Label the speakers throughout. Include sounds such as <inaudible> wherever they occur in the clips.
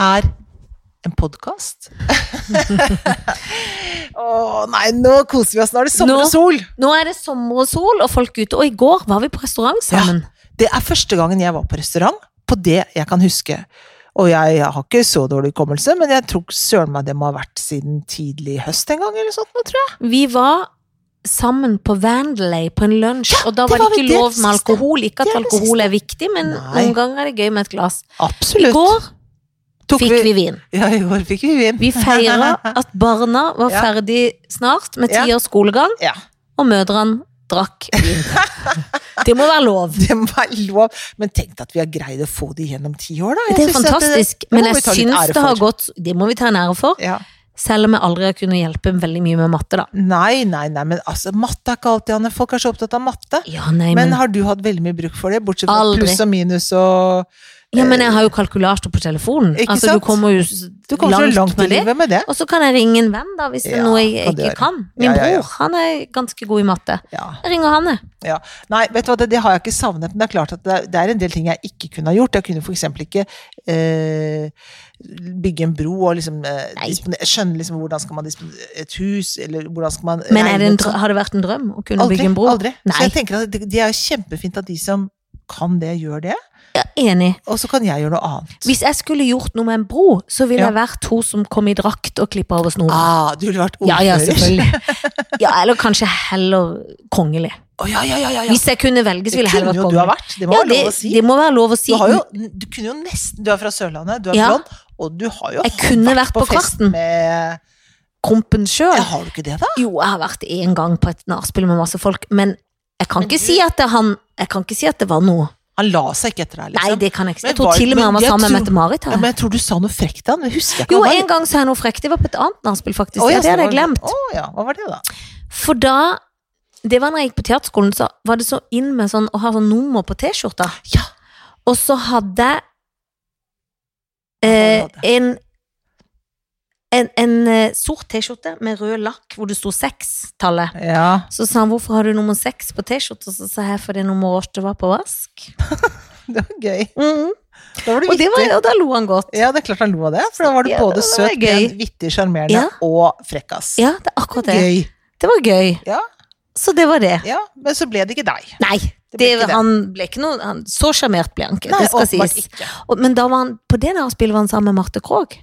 Speaker 1: er en <laughs> podkast. Å nei, nå koser vi oss. Nå er det sommer
Speaker 2: Nå-
Speaker 1: og sol.
Speaker 2: Nå er det sommer og sol og folk ute, og i går var vi på restaurant sammen.
Speaker 1: Det er første gangen jeg var på restaurant, på det jeg kan huske. Og jeg, jeg har ikke så dårlig hukommelse, men jeg tror søren meg det må ha vært siden tidlig i høst en gang, eller sånt, nå, tror jeg.
Speaker 2: Vi var sammen på Vandelay på en lunsj, og da
Speaker 1: det
Speaker 2: var det
Speaker 1: var vel
Speaker 2: ikke
Speaker 1: det
Speaker 2: lov med
Speaker 1: siste.
Speaker 2: alkohol. Ikke
Speaker 1: Det
Speaker 2: at
Speaker 1: er det
Speaker 2: alkohol er viktig, men
Speaker 1: Nei.
Speaker 2: noen ganger er det gøy med et glass. I
Speaker 1: Absolutt.
Speaker 2: går
Speaker 1: Tok
Speaker 2: fikk vi vin.
Speaker 1: Ja, i går fikk vi vin.
Speaker 2: Vi feira at barna var
Speaker 1: Ja.
Speaker 2: ferdig snart med ti
Speaker 1: Ja.
Speaker 2: års skolegang,
Speaker 1: Ja.
Speaker 2: og mødrene drakk
Speaker 1: <laughs>
Speaker 2: vin. Det må være lov.
Speaker 1: Det må være lov. Men tenk at vi har greid å få det gjennom ti år, da. Jeg
Speaker 2: Det er
Speaker 1: synes at
Speaker 2: fantastisk,
Speaker 1: må
Speaker 2: men
Speaker 1: vi
Speaker 2: jeg
Speaker 1: ta litt ære
Speaker 2: syns det har
Speaker 1: for.
Speaker 2: gått Det må vi ta en ære for,
Speaker 1: Ja.
Speaker 2: selv om jeg aldri har kunnet hjelpe veldig mye med matte, da.
Speaker 1: Nei, nei, nei, men altså, matte er ikke alltid, Anne. Folk er så opptatt av matte.
Speaker 2: Ja, nei,
Speaker 1: men,
Speaker 2: men,
Speaker 1: har du hatt veldig mye bruk for det, bortsett fra
Speaker 2: Aldri.
Speaker 1: pluss og minus og
Speaker 2: ja, men jeg har jo kalkulator på telefonen.
Speaker 1: Eh, Ikke
Speaker 2: Altså,
Speaker 1: sant?
Speaker 2: du kommer jo s-
Speaker 1: Du kommer så
Speaker 2: langt,
Speaker 1: langt i
Speaker 2: med det.
Speaker 1: livet med det.
Speaker 2: Og så kan jeg ringe en venn, da, hvis det
Speaker 1: Ja,
Speaker 2: er noe jeg
Speaker 1: kan du
Speaker 2: ikke
Speaker 1: gjøre.
Speaker 2: kan. Min
Speaker 1: Ja, ja, ja.
Speaker 2: bror, han er ganske god i matte.
Speaker 1: Ja.
Speaker 2: Jeg ringer han, jeg.
Speaker 1: Ja. Nei, vet du hva, det, det har jeg ikke savnet, men det er klart at det er, det er en del ting jeg ikke kunne ha gjort. Jeg kunne f.eks. ikke eh, bygge en bro og liksom eh,
Speaker 2: Nei.
Speaker 1: dispone- skjønne liksom hvordan skal man disponere et hus, eller hvordan skal man
Speaker 2: Men er det en,
Speaker 1: ut-
Speaker 2: drø- har det vært en drøm å kunne
Speaker 1: Aldri.
Speaker 2: bygge en bro?
Speaker 1: aldri. Så
Speaker 2: Nei,
Speaker 1: jeg tenker at det, det er jo kjempefint at de som kan det, gjør det.
Speaker 2: jeg er enig.
Speaker 1: Og så kan jeg gjøre noe annet.
Speaker 2: Hvis jeg skulle gjort noe med en bro, så ville
Speaker 1: Ja.
Speaker 2: jeg vært hun som kom i drakt og klippa over snoren.
Speaker 1: Ah, du ville vært
Speaker 2: ja,
Speaker 1: ordfører.
Speaker 2: ja, selvfølgelig. Ja, eller kanskje heller kongelig.
Speaker 1: <laughs> Å, ja, ja, ja, ja, ja.
Speaker 2: Hvis jeg kunne velge, så
Speaker 1: Det
Speaker 2: ville jeg heller
Speaker 1: kunne
Speaker 2: vært
Speaker 1: jo du ha
Speaker 2: kongelig.
Speaker 1: vært. Det må
Speaker 2: ja,
Speaker 1: være
Speaker 2: det,
Speaker 1: lov å si.
Speaker 2: det må være lov å si.
Speaker 1: Du, har jo, du kunne jo nesten Du er fra Sørlandet, du er
Speaker 2: Ja.
Speaker 1: blond, og du har jo
Speaker 2: Jeg kunne vært på
Speaker 1: fest
Speaker 2: Karsten.
Speaker 1: med
Speaker 2: Kompen sjøl.
Speaker 1: ja, Har du ikke det, da?
Speaker 2: Jo, jeg har vært én gang på et nachspiel med masse folk, men jeg kan
Speaker 1: Men
Speaker 2: ikke
Speaker 1: du-
Speaker 2: si at det, han, jeg kan ikke si at det var noe.
Speaker 1: Han la seg ikke etter deg,
Speaker 2: Nei,
Speaker 1: liksom.
Speaker 2: det kan jeg ikke si. Jeg
Speaker 1: Men
Speaker 2: tror
Speaker 1: var-
Speaker 2: til og med han
Speaker 1: men
Speaker 2: var
Speaker 1: jeg
Speaker 2: sammen med
Speaker 1: tror-
Speaker 2: Mette-Marit.
Speaker 1: ja,
Speaker 2: her.
Speaker 1: men jeg tror du sa noe frekt til han, men husker jeg ikke.
Speaker 2: Jo,
Speaker 1: hva det var.
Speaker 2: en gang sa jeg noe frekt. Det var på et annet nachspiel, faktisk.
Speaker 1: Å, ja,
Speaker 2: Ja, det
Speaker 1: så
Speaker 2: hadde
Speaker 1: var
Speaker 2: jeg glemt.
Speaker 1: Å ja, hva var det, da?
Speaker 2: For da Det var når jeg gikk på teaterskolen, så var det så inn med sånn, å ha sånn nummer på T-skjorta.
Speaker 1: Ja.
Speaker 2: Og så hadde
Speaker 1: Hva
Speaker 2: jeg
Speaker 1: var det?
Speaker 2: eh, en en, en eh, sort T-skjorte med rød lakk hvor det sto seks-tallet.
Speaker 1: Ja. <laughs>
Speaker 2: Så sa han 'hvorfor har du nummer seks på T-skjorta?' Så sa jeg 'fordi nummer åtte var på vask'.
Speaker 1: Det var gøy.
Speaker 2: Mhm.
Speaker 1: Da var du
Speaker 2: og, det
Speaker 1: vittig.
Speaker 2: var, og da lo han godt.
Speaker 1: Ja, det er klart han lo av det, for da var du
Speaker 2: Ja,
Speaker 1: både
Speaker 2: det var
Speaker 1: søt,
Speaker 2: gøy.
Speaker 1: pen, vittig, sjarmerende
Speaker 2: Ja.
Speaker 1: og frekkas.
Speaker 2: Ja, det er akkurat det.
Speaker 1: Gøy.
Speaker 2: Det var gøy.
Speaker 1: Ja.
Speaker 2: Så det var det.
Speaker 1: Ja, men så ble det ikke deg.
Speaker 2: Nei,
Speaker 1: Det
Speaker 2: det
Speaker 1: ble ikke det.
Speaker 2: han ble ikke noe han, Så sjarmert ble han ikke.
Speaker 1: Nei,
Speaker 2: det skal
Speaker 1: åpenbart
Speaker 2: sies.
Speaker 1: ikke.
Speaker 2: Og, men da var han, på det nachspielet var han sammen med Marte Krogh.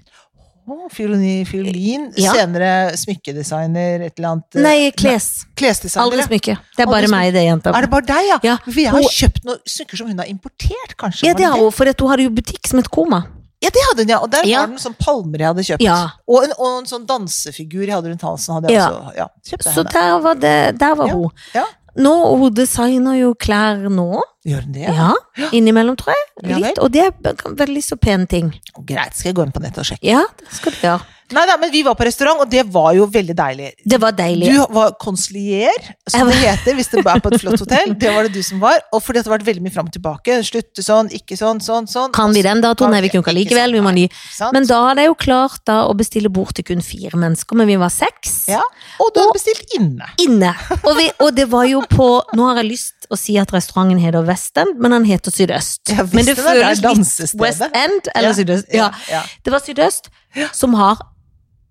Speaker 1: Å, fiolin, fiolin
Speaker 2: Ja.
Speaker 1: senere smykkedesigner, et eller annet eh,
Speaker 2: Nei, kles.
Speaker 1: Klesdesigner.
Speaker 2: Aldri
Speaker 1: ja.
Speaker 2: smykke. Det
Speaker 1: Aldri
Speaker 2: er bare
Speaker 1: smykke.
Speaker 2: meg, det, jenta.
Speaker 1: Er det bare deg, ja?
Speaker 2: Ja,
Speaker 1: For jeg har
Speaker 2: hun-
Speaker 1: kjøpt noen smykker som hun har importert, kanskje.
Speaker 2: Ja,
Speaker 1: var
Speaker 2: det har hun, for at hun hadde jo butikk som het Koma.
Speaker 1: Ja, det hadde hun, ja. Og der
Speaker 2: Ja.
Speaker 1: var det noen sånne palmer jeg hadde kjøpt.
Speaker 2: Ja.
Speaker 1: Og, en, og en sånn dansefigur jeg hadde rundt halsen, hadde jeg
Speaker 2: Ja.
Speaker 1: også ja, kjøpt. av
Speaker 2: Så
Speaker 1: henne.
Speaker 2: der var, det, der var
Speaker 1: Ja.
Speaker 2: hun.
Speaker 1: Ja.
Speaker 2: Nå, og hun designer jo klær nå.
Speaker 1: Gjør hun det? Ja.
Speaker 2: Ja. Innimellom, tror jeg.
Speaker 1: Ja
Speaker 2: Litt. Og det er b- veldig så pene ting.
Speaker 1: Greit, skal jeg gå inn på nettet og sjekke.
Speaker 2: Ja, det skal du gjøre.
Speaker 1: Nei da, men vi var på restaurant, og det var jo veldig deilig.
Speaker 2: Det var deilig.
Speaker 1: Du var konsilier, som det heter hvis det er på et flott hotell.
Speaker 2: <laughs>
Speaker 1: Det var det du som var. Og fordi at det har vært veldig mye fram og tilbake. Slutte sånn, ikke sånn, sånn, sånn.
Speaker 2: Kan vi den datoen? Nei, vi
Speaker 1: Kan
Speaker 2: kunne
Speaker 1: vi-
Speaker 2: ikke
Speaker 1: ikke
Speaker 2: likevel. Vi må
Speaker 1: sant,
Speaker 2: ny.
Speaker 1: Sant?
Speaker 2: Men da hadde jeg jo klart da å bestille bord til kun fire mennesker, men vi var seks.
Speaker 1: ja. Og du hadde bestilt inne.
Speaker 2: Inne. Og, vi, og det var jo på Nå har jeg lyst å si at restauranten heter West End, men den heter Sydøst.
Speaker 1: Ja, visst
Speaker 2: men det
Speaker 1: det var der
Speaker 2: føles litt
Speaker 1: dansestedet.
Speaker 2: West End eller Sydøst. Ja.
Speaker 1: ja.
Speaker 2: Det var Sydøst, som har,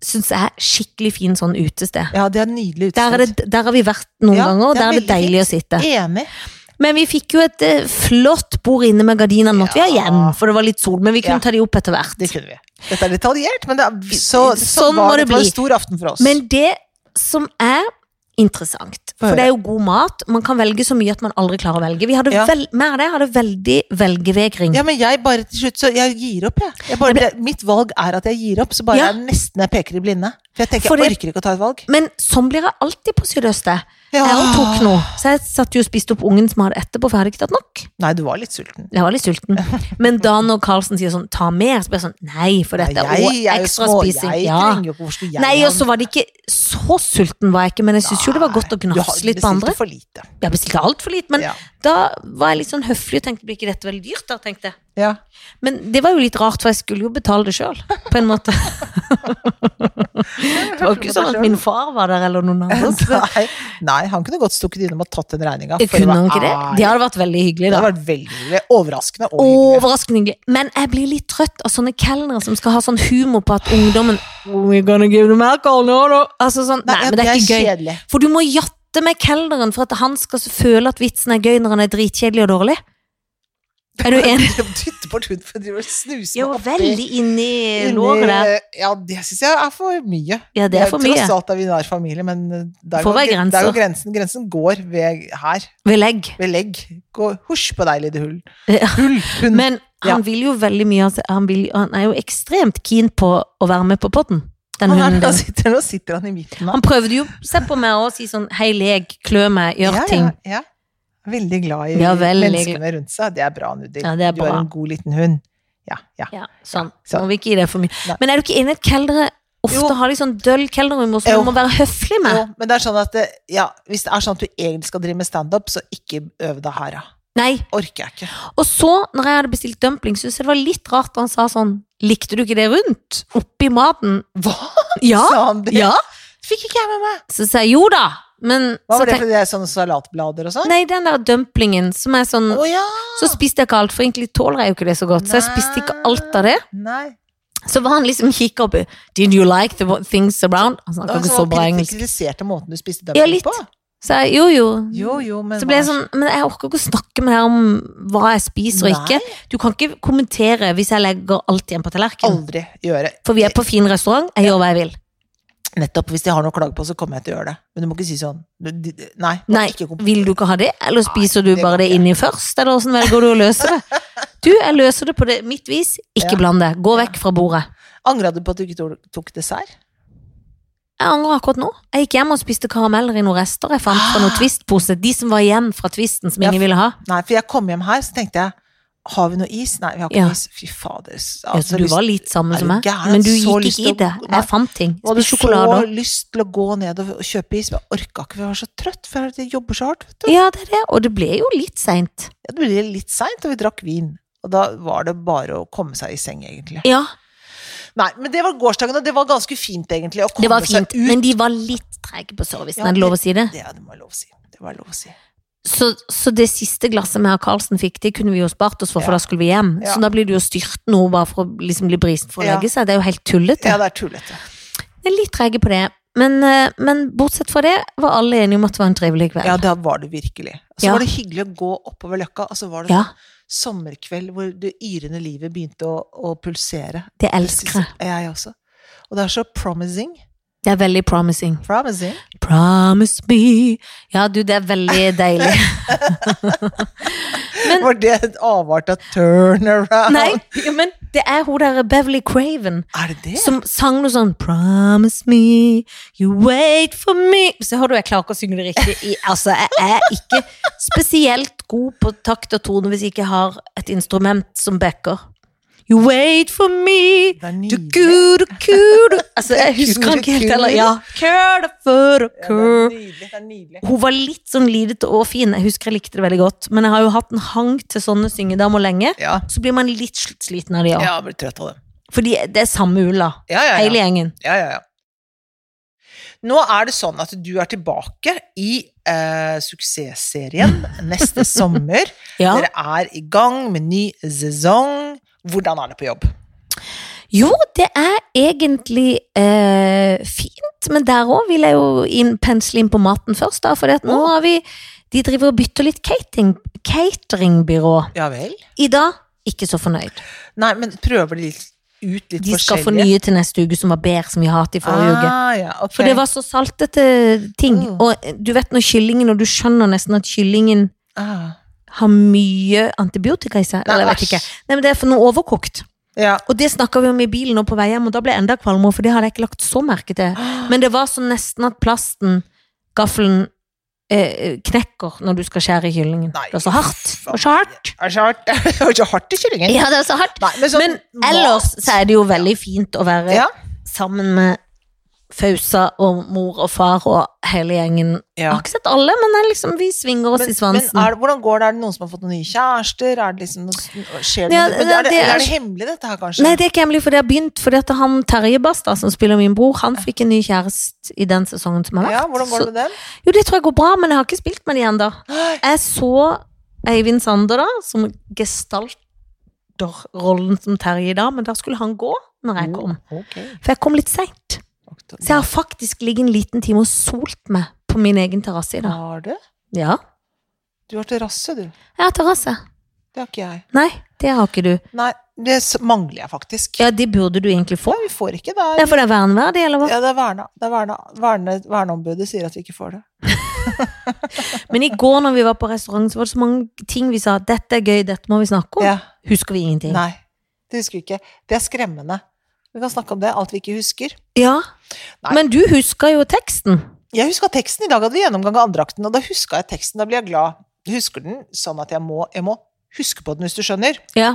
Speaker 2: syns jeg, skikkelig fin sånn utested.
Speaker 1: Ja, det er nydelig
Speaker 2: Der, er
Speaker 1: utsted.
Speaker 2: det, der har vi vært noen
Speaker 1: Ja,
Speaker 2: ganger, og
Speaker 1: det er
Speaker 2: der er det
Speaker 1: veldig
Speaker 2: deilig å sitte.
Speaker 1: Enig.
Speaker 2: Men vi fikk jo et eh, flott bord inne med gardinene, måtte vi ha
Speaker 1: Ja.
Speaker 2: igjen, for det var litt sol, men vi kunne
Speaker 1: Ja.
Speaker 2: ta de opp etter hvert.
Speaker 1: Det kunne vi. Dette er detaljert, men det er, så,
Speaker 2: Sånn må
Speaker 1: var,
Speaker 2: det
Speaker 1: det var
Speaker 2: bli.
Speaker 1: en stor aften for oss.
Speaker 2: Men det som er interessant,
Speaker 1: Få
Speaker 2: for
Speaker 1: høre.
Speaker 2: det er jo god mat, man kan velge så mye at man aldri klarer å velge. Vi hadde
Speaker 1: Ja.
Speaker 2: vel, mer av det, hadde veldig velgevegring.
Speaker 1: ja, men jeg bare til slutt, så jeg gir opp, jeg. jeg bare, det, mitt valg er at jeg gir opp, så bare
Speaker 2: Ja.
Speaker 1: jeg nesten jeg peker i blinde. For jeg tenker,
Speaker 2: For det-
Speaker 1: jeg orker ikke å ta et valg.
Speaker 2: Men sånn blir jeg alltid på Sydøstet.
Speaker 1: Ja.
Speaker 2: Jeg også tok noe, så jeg satt jo og spiste opp ungen som jeg hadde etterpå, for jeg hadde ikke tatt nok.
Speaker 1: Nei, du var litt sulten.
Speaker 2: Jeg var litt sulten.
Speaker 1: <laughs>
Speaker 2: Men da når Carlsen sier sånn, ta mer, så blir jeg sånn, nei, for dette
Speaker 1: Nei,
Speaker 2: er også
Speaker 1: jeg er jo
Speaker 2: ekstra
Speaker 1: små,
Speaker 2: spising.
Speaker 1: Jeg
Speaker 2: Ja.
Speaker 1: trenger jo ikke, hvorfor skulle jeg
Speaker 2: Nei,
Speaker 1: ha-
Speaker 2: og så var det ikke så sulten var jeg ikke, men jeg synes jo det var godt å
Speaker 1: Nei, du har
Speaker 2: gnafse litt på andre.
Speaker 1: bestilt for lite.
Speaker 2: Jeg bestilte altfor lite, men
Speaker 1: Ja.
Speaker 2: da var jeg litt sånn høflig og tenkte blir ikke dette veldig dyrt? da, tenkte jeg.
Speaker 1: Ja.
Speaker 2: Men det var jo litt rart, for jeg skulle jo betale det sjøl, på en
Speaker 1: <laughs>
Speaker 2: måte. <laughs> Det var jo ikke sånn at min far var der,
Speaker 1: <laughs>
Speaker 2: eller noen andre. så-
Speaker 1: Nei, nei, han kunne godt stukket innom og tatt den regninga.
Speaker 2: Jeg Altså, kunne han ikke det? Det hadde vært veldig hyggelig,
Speaker 1: Det
Speaker 2: da.
Speaker 1: hadde vært veldig hyggelig. Overraskende og hyggelig.
Speaker 2: Overraskende hyggelig. Men jeg blir litt trøtt av sånne kelnere som skal ha sånn humor på at ungdommen We're gonna give them alcohol no, no. Altså sånn, nei, men det er ikke gøy.
Speaker 1: kjedelig.
Speaker 2: For du må jatte med kelneren for at han skal så føle at vitsen er gøy når han er dritkjedelig og dårlig. Er du <laughs> enig?
Speaker 1: De dytter bort huden for å drive og snuse
Speaker 2: Jo,
Speaker 1: meg oppi-
Speaker 2: veldig inni
Speaker 1: inni-
Speaker 2: låret der.
Speaker 1: Ja, det syns jeg er for mye.
Speaker 2: Ja, det er for mye.
Speaker 1: Tross alt er vi nær familie, men det er,
Speaker 2: Får
Speaker 1: jo,
Speaker 2: være
Speaker 1: gre- det er jo
Speaker 2: grenser.
Speaker 1: grensen. Grensen går ved her.
Speaker 2: Ved legg.
Speaker 1: Ved legg. Gå husj på deg, lille hull.
Speaker 2: Ja.
Speaker 1: Hull, hund.
Speaker 2: Men han vil jo veldig mye altså, han, vil, han er jo ekstremt keen på å være med på podden. Den
Speaker 1: <laughs> han er,
Speaker 2: hunden
Speaker 1: nå,
Speaker 2: din.
Speaker 1: sitter, nå sitter han i midten av
Speaker 2: Han prøvde jo se på meg og si sånn hei, lek, klø meg, gjør
Speaker 1: ja,
Speaker 2: ting.
Speaker 1: Ja, ja. Veldig glad i
Speaker 2: Ja, veldig
Speaker 1: menneskene rundt seg. Det er bra, Nudel.
Speaker 2: Ja, det er
Speaker 1: du er
Speaker 2: bra.
Speaker 1: en god liten hund. Ja, ja.
Speaker 2: Ja, sånn.
Speaker 1: Ja, sånn.
Speaker 2: Må vi ikke gi det for mye.
Speaker 1: Nei.
Speaker 2: Men er du ikke enig i at keldere ofte
Speaker 1: Jo.
Speaker 2: har litt sånn døll kelderhumor som
Speaker 1: Jo.
Speaker 2: du må være høflig med?
Speaker 1: Jo, men det er sånn at det, ja, hvis det er sånn at du egentlig skal drive med standup, så ikke øv deg her, ja.
Speaker 2: Nei.
Speaker 1: Orker jeg ikke.
Speaker 2: Og så, når jeg hadde bestilt dumpling, syntes jeg det var litt rart da han sa sånn Likte du ikke det rundt? Oppi maten?
Speaker 1: Hva
Speaker 2: Ja.
Speaker 1: <laughs> sa han det?
Speaker 2: ja.
Speaker 1: Fikk ikke jeg med meg.
Speaker 2: Så sa jeg jo da, men
Speaker 1: Hva
Speaker 2: så
Speaker 1: var det
Speaker 2: tenk-
Speaker 1: for det er sånne salatblader og sånn?
Speaker 2: Nei, den der dumplingen som er sånn
Speaker 1: Å ja!
Speaker 2: Så spiste jeg ikke alt, for egentlig tåler jeg jo ikke det så godt. Så jeg spiste ikke alt av det.
Speaker 1: Nei.
Speaker 2: Så var han liksom kikka oppi. Did you like the wo- things around? Han snakka
Speaker 1: Og
Speaker 2: ikke
Speaker 1: så
Speaker 2: så bra
Speaker 1: krit-
Speaker 2: engelsk.
Speaker 1: kritiserte måten du spiste
Speaker 2: Ja,
Speaker 1: dumpling
Speaker 2: litt.
Speaker 1: på.
Speaker 2: Så jeg jo, jo.
Speaker 1: Jo, jo, men
Speaker 2: Så ble jeg
Speaker 1: hva-
Speaker 2: sånn, men jeg orker ikke å snakke med deg om hva jeg spiser og
Speaker 1: Nei.
Speaker 2: ikke. Du kan ikke kommentere hvis jeg legger alt igjen på tallerkenen.
Speaker 1: Aldri gjøre.
Speaker 2: For vi er på fin restaurant, jeg gjør hva jeg vil.
Speaker 1: Nettopp. Hvis de har noe å klage på, så kommer jeg til å gjøre det. Men du må ikke si sånn. Du, de, de- nei. du må
Speaker 2: Nei,
Speaker 1: ikke kom-
Speaker 2: vil du ikke ha det, eller spiser du
Speaker 1: det går
Speaker 2: bare det
Speaker 1: ikke.
Speaker 2: inni først, eller åssen velger du å løse
Speaker 1: <laughs>
Speaker 2: det? Du, jeg løser det på det mitt vis,
Speaker 1: Ja.
Speaker 2: ikke bland det. Gå vekk fra bordet.
Speaker 1: Angra du på at du ikke tok, tok dessert?
Speaker 2: Jeg angrer akkurat nå. Jeg gikk hjem og spiste karameller i noen rester jeg fant fra
Speaker 1: <gasps>
Speaker 2: noen Twist-pose. De som var igjen fra Twisten, som
Speaker 1: Ja,
Speaker 2: ingen ville ha.
Speaker 1: Nei, for jeg kom hjem her, så tenkte jeg har vi noe is? Nei, vi har ikke
Speaker 2: Ja.
Speaker 1: noe is. Fy fader. s-
Speaker 2: Ja, så
Speaker 1: altså,
Speaker 2: du
Speaker 1: lyst-
Speaker 2: var litt sammen
Speaker 1: Er
Speaker 2: som
Speaker 1: du
Speaker 2: meg,
Speaker 1: gæren?
Speaker 2: men du
Speaker 1: Så
Speaker 2: gikk
Speaker 1: lyst
Speaker 2: ikke i
Speaker 1: til
Speaker 2: det.
Speaker 1: å- Nei.
Speaker 2: Jeg fant ting.
Speaker 1: Og hadde
Speaker 2: Spiste
Speaker 1: så
Speaker 2: sjokolader.
Speaker 1: lyst til å gå ned og og kjøpe is, men jeg orka ikke, for jeg var så trøtt. For jeg jobber så hardt. Vet du.
Speaker 2: Ja, det er det. Og det ble jo litt seint.
Speaker 1: Ja, Det ble litt seint, og vi drakk vin. Og da var det bare å komme seg i seng, egentlig.
Speaker 2: Ja,
Speaker 1: Nei, men det var gårsdagen, og det var ganske fint, egentlig. Å komme
Speaker 2: det var fint.
Speaker 1: seg ut.
Speaker 2: Men de var litt trege på servicen,
Speaker 1: Ja,
Speaker 2: er det lov å si det?
Speaker 1: Det, ja, det må jeg lov å si. Det må jeg lov å si.
Speaker 2: Så, så det siste glasset vi og Carlsen fikk, det kunne vi jo spart oss for, for
Speaker 1: Ja.
Speaker 2: da skulle vi hjem.
Speaker 1: Ja.
Speaker 2: Så da blir det jo styrt noe bare for å liksom bli brisen for å
Speaker 1: Ja.
Speaker 2: legge seg. Det er jo helt tullete.
Speaker 1: Ja, det er tullete.
Speaker 2: Jeg er litt trege på det. Men, eh, men bortsett fra det var alle enige om at det var en trivelig kveld.
Speaker 1: Ja, da var det virkelig. Så
Speaker 2: Ja.
Speaker 1: var det hyggelig å gå oppover løkka, og så var det
Speaker 2: Ja,
Speaker 1: sånn sommerkveld hvor det yrende livet begynte å, å pulsere.
Speaker 2: det elsker jeg.
Speaker 1: Det synes Jeg også. Og det er så promising.
Speaker 2: Det er veldig promising.
Speaker 1: Promising.
Speaker 2: Promise me Ja, du, det er veldig deilig. <laughs>
Speaker 1: Var det et avart av turnaround?
Speaker 2: Nei, men det er hun der Beverly Craven
Speaker 1: Er det det?
Speaker 2: som sang noe sånn Promise me, you wait for me Så hører du, jeg klarer ikke å synge det riktig. I, altså, jeg er ikke spesielt god på takt og tone hvis jeg ikke har et instrument som backer. You wait for me
Speaker 1: det er
Speaker 2: Du
Speaker 1: nydelig.
Speaker 2: kudu, kudu. Altså, jeg husker han ikke helt heller. Ja. Kudu, kudu,
Speaker 1: Ja, det
Speaker 2: kudu.
Speaker 1: er nydelig. Det er nydelig.
Speaker 2: Hun var litt sånn lidete og fin. Jeg husker jeg likte det veldig godt. Men jeg har jo hatt en hang til sånn sånne syngedamer lenge.
Speaker 1: Ja,
Speaker 2: Så blir man litt sl- sliten av de òg.
Speaker 1: jeg blir trøtt av det.
Speaker 2: Fordi det er samme ulla.
Speaker 1: Ja, ja,
Speaker 2: Hele
Speaker 1: ja.
Speaker 2: gjengen.
Speaker 1: ja, ja, ja. Nå er det sånn at du er tilbake i eh, suksessserien
Speaker 2: <laughs>
Speaker 1: neste sommer.
Speaker 2: Ja.
Speaker 1: Dere er i gang med ny sesong. Hvordan er det på jobb?
Speaker 2: Jo, det er egentlig eh, fint, men der òg vil jeg jo inn, pensle inn på maten først, da. For nå
Speaker 1: Å.
Speaker 2: har vi De driver og bytter litt catering, cateringbyrå.
Speaker 1: Ja vel?
Speaker 2: Ida, ikke så fornøyd.
Speaker 1: Nei, men prøver de litt ut litt
Speaker 2: De skal få
Speaker 1: forskjellige?
Speaker 2: nye til neste uke, som var bedre, som vi har hatt i forrige uke.
Speaker 1: Ah, ja, ok.
Speaker 2: For det var så saltete ting.
Speaker 1: Mm.
Speaker 2: Og eh, du vet når kyllingen, og du skjønner nesten at kyllingen
Speaker 1: ah.
Speaker 2: har mye antibiotika i
Speaker 1: Nei,
Speaker 2: seg. Eller jeg vet
Speaker 1: æsj.
Speaker 2: ikke. Nei, men det er for noe overkokt.
Speaker 1: Ja.
Speaker 2: Og det snakka vi om i bilen og på vei hjem, og da ble jeg enda kvalmere, for det hadde jeg ikke lagt så merke til.
Speaker 1: <gasps>
Speaker 2: Men det var så nesten at plasten, gaffelen, eh, knekker når du skal skjære kyllingen.
Speaker 1: Nei,
Speaker 2: Det var så hardt.
Speaker 1: faen.
Speaker 2: Det var så hardt.
Speaker 1: Er det så hardt? <laughs> Det var så hardt i kyllingen.
Speaker 2: Ja, det var så hardt.
Speaker 1: Nei, men, sånn
Speaker 2: Men ellers
Speaker 1: mat-
Speaker 2: så er det jo veldig fint å være
Speaker 1: Ja.
Speaker 2: sammen med Fausa og mor og far og hele gjengen. Jeg
Speaker 1: Ja.
Speaker 2: har ikke sett alle, men jeg liksom, vi svinger oss
Speaker 1: Men,
Speaker 2: i
Speaker 1: men
Speaker 2: svansen.
Speaker 1: er, det- hvordan går det? Er det noen som har fått noen nye kjærester? Er det liksom noe, skjer det
Speaker 2: Ja,
Speaker 1: noe? Men
Speaker 2: nei,
Speaker 1: er, det,
Speaker 2: det
Speaker 1: eller
Speaker 2: er-
Speaker 1: er det hemmelig, dette her, kanskje?
Speaker 2: Nei, det er ikke hemmelig, for det har begynt. Fordi at han Terje Basta, som spiller min bror, han fikk en ny kjæreste i den sesongen som har vært.
Speaker 1: ja, hvordan går det med dem?
Speaker 2: Så, jo, det tror jeg går bra, men jeg har ikke spilt med de ennå.
Speaker 1: Nei.
Speaker 2: Jeg så Eivind Sander da, som gestalter rollen som Terje i dag, men da skulle han gå når
Speaker 1: Mm.
Speaker 2: jeg kom.
Speaker 1: Oh, Ok.
Speaker 2: For jeg kom litt seint. Så jeg har faktisk ligget en liten time og solt meg på min egen terrasse i dag.
Speaker 1: Har du?
Speaker 2: Ja.
Speaker 1: Du har terrasse, du.
Speaker 2: Jeg har terrasse.
Speaker 1: Det har ikke jeg.
Speaker 2: Nei, det har ikke du.
Speaker 1: Nei, det s- mangler jeg faktisk.
Speaker 2: Ja, det burde du egentlig få.
Speaker 1: Nei, vi får ikke det.
Speaker 2: Det er for det er verneverdig, eller hva?
Speaker 1: Ja, det er verna. Det er verna. Verne, verneombudet sier at vi ikke får det.
Speaker 2: Men i går når vi var på restaurant, så var det så mange ting vi sa dette er gøy, dette må vi snakke om.
Speaker 1: Ja.
Speaker 2: Husker vi ingenting?
Speaker 1: Nei, det husker vi ikke. Det er skremmende. Vi kan snakke om det, alt vi ikke husker.
Speaker 2: Ja.
Speaker 1: Nei.
Speaker 2: Men du husker jo teksten.
Speaker 1: Jeg huska teksten. I dag hadde vi gjennomgang av andrakten, og da huska jeg teksten. Da blir jeg glad. Jeg Husker den sånn at jeg må, jeg må huske på den, hvis du skjønner.
Speaker 2: Ja.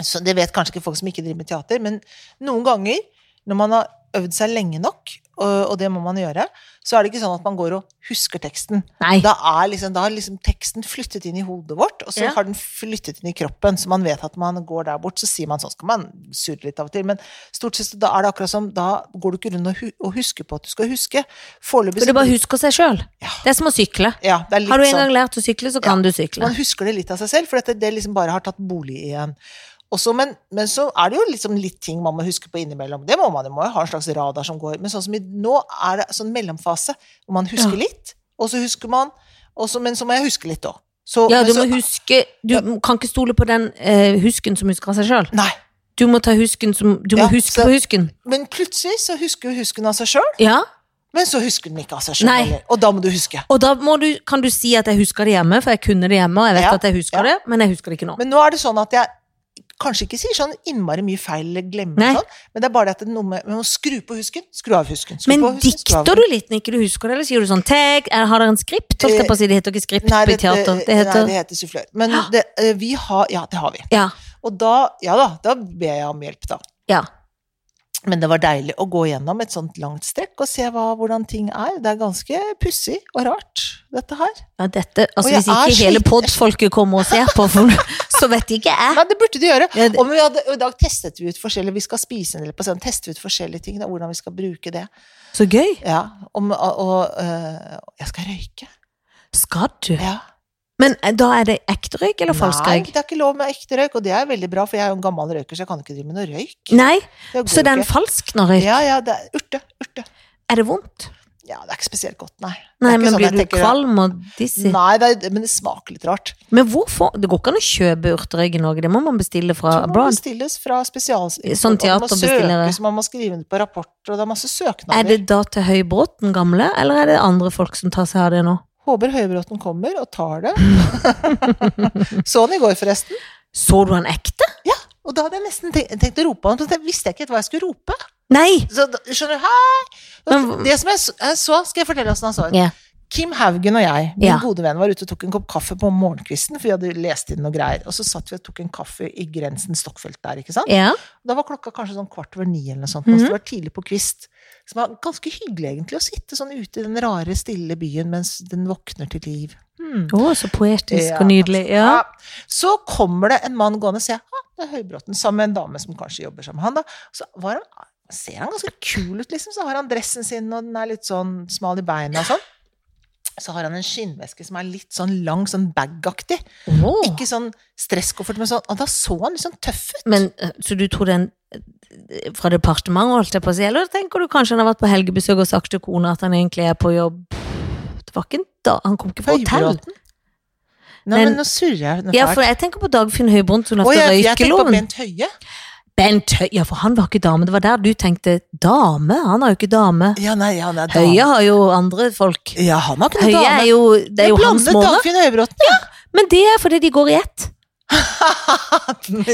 Speaker 1: Så det vet kanskje ikke folk som ikke driver med teater, men noen ganger når man har øvd seg lenge nok, og og det må man gjøre, så er det ikke sånn at man går og husker teksten.
Speaker 2: Nei.
Speaker 1: Da er liksom, da har liksom teksten flyttet inn i hodet vårt, og så
Speaker 2: Ja.
Speaker 1: har den flyttet inn i kroppen, så man vet at man går der bort. Så sier man sånn, skal man surre litt av og til, men stort sett da er det akkurat som da går du ikke rundt og hu- og husker på at du skal huske. Foreløpig
Speaker 2: For
Speaker 1: så-
Speaker 2: det bare husker seg sjøl.
Speaker 1: Ja.
Speaker 2: Det er som å sykle.
Speaker 1: Ja, det er litt
Speaker 2: Har du en
Speaker 1: sånn.
Speaker 2: gang lært å sykle, så kan du sykle.
Speaker 1: Man husker det litt av seg selv, for dette, det liksom bare har tatt bolig igjen. Også, men, men så er det jo liksom litt ting man må huske på innimellom. Det må man jo, må jo ha en slags radar som går. Men sånn som i, nå er det sånn mellomfase hvor man husker litt, og så husker man, og så- men så må jeg huske litt òg.
Speaker 2: Ja,
Speaker 1: altså-
Speaker 2: du må huske Du kan ikke stole på den eh, husken som husker av seg sjøl.
Speaker 1: Nei.
Speaker 2: Du må ta husken som Du må
Speaker 1: Ja,
Speaker 2: huske
Speaker 1: så-
Speaker 2: på husken.
Speaker 1: Men plutselig så husker jo husken av seg sjøl,
Speaker 2: Ja.
Speaker 1: men så husker den ikke av seg
Speaker 2: Nei.
Speaker 1: sjøl. Og da må du huske.
Speaker 2: Og da må du, kan du si at jeg husker det hjemme, for jeg kunne det hjemme, og jeg vet
Speaker 1: Ja.
Speaker 2: at jeg husker det, men jeg husker det ikke nå.
Speaker 1: Men nå er det sånn at jeg kanskje ikke sier sånn innmari mye feil eller glemmer
Speaker 2: Nei.
Speaker 1: sånn, men det er bare det at det er noe med, med å skru på husken, skru av husken. Skru
Speaker 2: Men
Speaker 1: på husken, skru av
Speaker 2: dikter du litt når ikke du husker det, eller sier du sånn tag, er- har dere en skript? Holdt jeg på å si, det heter ikke skript
Speaker 1: Nei,
Speaker 2: på teater, det
Speaker 1: nei,
Speaker 2: heter
Speaker 1: det heter sufflør. Men det, eh, vi har Ja, det har vi.
Speaker 2: Ja.
Speaker 1: Og da, ja da, da ber jeg om hjelp, da.
Speaker 2: ja.
Speaker 1: Men det var deilig å gå gjennom et sånt langt strekk og se hva, hvordan ting er. Det er ganske pussig og rart, dette her.
Speaker 2: ja dette, altså
Speaker 1: Og jeg
Speaker 2: Hvis ikke
Speaker 1: er
Speaker 2: hele
Speaker 1: sliten.
Speaker 2: podfolket kommer og ser på, for, <laughs> så vet ikke jeg.
Speaker 1: Nei, det burde du gjøre.
Speaker 2: Ja, det-
Speaker 1: Og, vi hadde, og i dag testet vi ut forskjellige Vi skal spise en del på scenen. Teste ut forskjellige ting, da, hvordan vi skal bruke det.
Speaker 2: Så gøy.
Speaker 1: Ja, om, og, og eh, Jeg skal røyke.
Speaker 2: Skal du?
Speaker 1: Ja.
Speaker 2: Men eh, da er det ekte røyk eller falsk
Speaker 1: Nei,
Speaker 2: røyk?
Speaker 1: det er ikke lov med ekte røyk, og det er veldig bra, for jeg er jo en gammel røyker, så jeg kan ikke drive med noe røyk.
Speaker 2: Nei,
Speaker 1: Det
Speaker 2: så
Speaker 1: går
Speaker 2: det er en
Speaker 1: ikke.
Speaker 2: falsk når røyk.
Speaker 1: Ja, ja, det er urte. Urte.
Speaker 2: Er det vondt?
Speaker 1: Ja, det er ikke spesielt godt, nei. Det er
Speaker 2: Nei,
Speaker 1: ikke
Speaker 2: men
Speaker 1: sånn
Speaker 2: blir
Speaker 1: jeg
Speaker 2: du
Speaker 1: tenker,
Speaker 2: kvalm og dizzy?
Speaker 1: Nei, det er, men det smaker litt rart.
Speaker 2: Men hvorfor? Det går ikke an å kjøpe urterøyk i Norge, det må man bestille fra
Speaker 1: Så må
Speaker 2: abroad.
Speaker 1: bestilles fra spesial... og
Speaker 2: Sånn
Speaker 1: det må
Speaker 2: teaterbestillere.
Speaker 1: søkes, Man må skrive det på rapporter, og det er masse
Speaker 2: Er
Speaker 1: søknader.
Speaker 2: det da til Høybråten gamle, eller er det andre folk som tar seg av det nå?
Speaker 1: Håper Høybråten kommer og tar det. <laughs> så han i går, forresten.
Speaker 2: Så du han ekte?
Speaker 1: Og da hadde jeg nesten tenkt, tenkt å rope han, men jeg visste ikke helt hva jeg skulle rope.
Speaker 2: Nei!
Speaker 1: Så da- skjønner du, hei! Og
Speaker 2: Men-
Speaker 1: Det som jeg så, jeg så skal jeg fortelle åssen han så ut.
Speaker 2: Ja.
Speaker 1: Kim Haugen og jeg, min
Speaker 2: Ja.
Speaker 1: gode venn, var ute og tok en kopp kaffe på morgenkvisten, for vi hadde lest inn noe greier. Og så satt vi og tok en kaffe i grensen Stockfeldt der, ikke sant?
Speaker 2: Ja.
Speaker 1: Da var klokka kanskje sånn kvart over ni eller noe sånt.
Speaker 2: Mhm.
Speaker 1: Så det var tidlig på kvist. Så det var ganske hyggelig egentlig å sitte sånn ute i den rare, stille byen mens den våkner til liv. Hmm.
Speaker 2: Å, så poetisk
Speaker 1: Ja,
Speaker 2: og nydelig.
Speaker 1: takk skal du
Speaker 2: Ja.
Speaker 1: ha. Så kommer det en mann gående og sier ah, det er Høybråten, sammen med en dame som kanskje jobber sammen med han. da. Så var han, ser han ganske kul ut, liksom. Så har han dressen sin, og den er litt sånn smal i beina og sånn. Så har han en skinnveske som er litt sånn lang, sånn bagaktig.
Speaker 2: Å.
Speaker 1: Ikke sånn stresskoffert, men sånn. Og da så han litt sånn tøff ut.
Speaker 2: Men eh, Så du tror den eh, fra departementet, holdt jeg på å si, eller tenker du kanskje han har vært på helgebesøk og sagt til kona at han egentlig er på jobb? Det var ikke en da, Han kom ikke fra hotell.
Speaker 1: Høybråten? Nei, men,
Speaker 2: Men-
Speaker 1: nå surrer jeg. Nå
Speaker 2: Ja,
Speaker 1: fælt.
Speaker 2: for jeg tenker på Dagfinn Høybråten som
Speaker 1: Å,
Speaker 2: lagde
Speaker 1: jeg, jeg tenker på
Speaker 2: røykeloven.
Speaker 1: Bent Høie.
Speaker 2: Bent Høie, ja, for han var ikke dame. Det var der du tenkte dame. Han er jo ikke dame.
Speaker 1: Ja, nei, han er dame.
Speaker 2: Høie har jo andre folk.
Speaker 1: Ja, han har ikke noe
Speaker 2: Høie
Speaker 1: dame.
Speaker 2: er jo Det er jo hans
Speaker 1: blandet
Speaker 2: måned.
Speaker 1: Dagfinn Høybråten.
Speaker 2: Men det er fordi de går i ett.
Speaker 1: <laughs>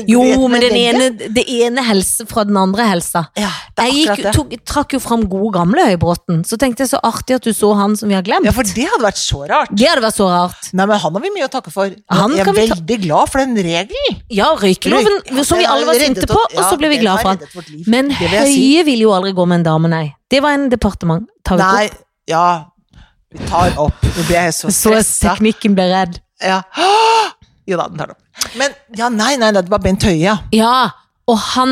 Speaker 2: Jo, men den ene, det ene helse fra den andre helsa.
Speaker 1: Ja, det er
Speaker 2: Jeg gikk,
Speaker 1: akkurat det.
Speaker 2: tok, trakk jo fram gode gamle Høybråten. Så tenkte jeg så artig at du så han som vi har glemt.
Speaker 1: Ja, for det hadde vært så rart.
Speaker 2: Det hadde vært så rart.
Speaker 1: Nei, men han har vi mye å takke for.
Speaker 2: Han
Speaker 1: jeg
Speaker 2: kan
Speaker 1: er
Speaker 2: vi ta-
Speaker 1: veldig glad for den regelen.
Speaker 2: Ja, røykeloven,
Speaker 1: Røyk- ja,
Speaker 2: som vi
Speaker 1: den har
Speaker 2: alle var
Speaker 1: reddet
Speaker 2: sinte
Speaker 1: oss-
Speaker 2: på, og
Speaker 1: ja,
Speaker 2: så ble vi
Speaker 1: den
Speaker 2: glad
Speaker 1: har
Speaker 2: for han.
Speaker 1: reddet vårt liv.
Speaker 2: Men
Speaker 1: Det vil jeg si.
Speaker 2: Høie vil jo aldri gå med en dame, nei. Det var en departement. Tar vi
Speaker 1: Nei,
Speaker 2: ikke opp?
Speaker 1: ja. Vi tar opp. Nå blir jeg så
Speaker 2: <laughs> Så
Speaker 1: stressa.
Speaker 2: teknikken ble redd.
Speaker 1: Ja. <gasps> Åh! Jo da, den tar det opp. Men ja, nei, nei, det var Bent Høie, ja.
Speaker 2: Ja, og han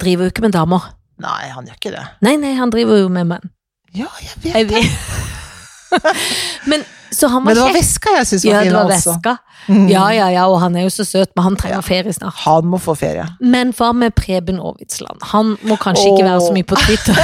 Speaker 2: driver jo ikke med damer.
Speaker 1: Nei, han gjør ikke det.
Speaker 2: Nei, nei, han driver jo med menn.
Speaker 1: Ja, jeg vet
Speaker 2: Jeg vet. <laughs> Men så han
Speaker 1: Men
Speaker 2: var
Speaker 1: det var
Speaker 2: kjekk.
Speaker 1: veska jeg syntes
Speaker 2: Ja,
Speaker 1: var
Speaker 2: det
Speaker 1: fin
Speaker 2: var
Speaker 1: også.
Speaker 2: veska.
Speaker 1: Mm.
Speaker 2: Ja, ja, ja, og han er jo så søt, men han trenger
Speaker 1: Ja.
Speaker 2: ferie snart.
Speaker 1: Han må få ferie.
Speaker 2: Men hva med Preben Aavitsland? Han må kanskje ikke være så mye på Twitter.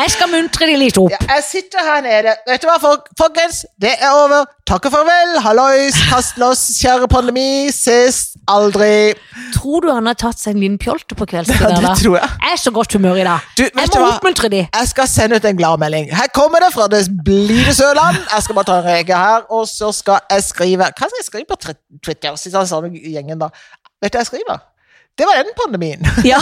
Speaker 2: Jeg skal muntre de litt opp.
Speaker 1: Ja, jeg sitter her nede. Vet du hva, folk, folkens? Det er over. Takk og farvel. Hallois, kast loss, kjære pandemi. Ses aldri.
Speaker 2: Tror du han har tatt seg en liten pjolte på
Speaker 1: Ja,
Speaker 2: kveldstid?
Speaker 1: det
Speaker 2: da?
Speaker 1: tror jeg.
Speaker 2: Jeg er så godt humør i dag.
Speaker 1: Du,
Speaker 2: Jeg
Speaker 1: vet du
Speaker 2: må
Speaker 1: hva?
Speaker 2: oppmuntre de.
Speaker 1: Jeg skal sende ut en gladmelding. Her kommer det fra det blide Sørland. Jeg skal bare ta en reke her, og så skal jeg skrive Hva skal jeg skrive på tr- Twitter? Sitter han sammen med gjengen da. Vet du hva jeg skriver? Det var den pandemien.
Speaker 2: Ja.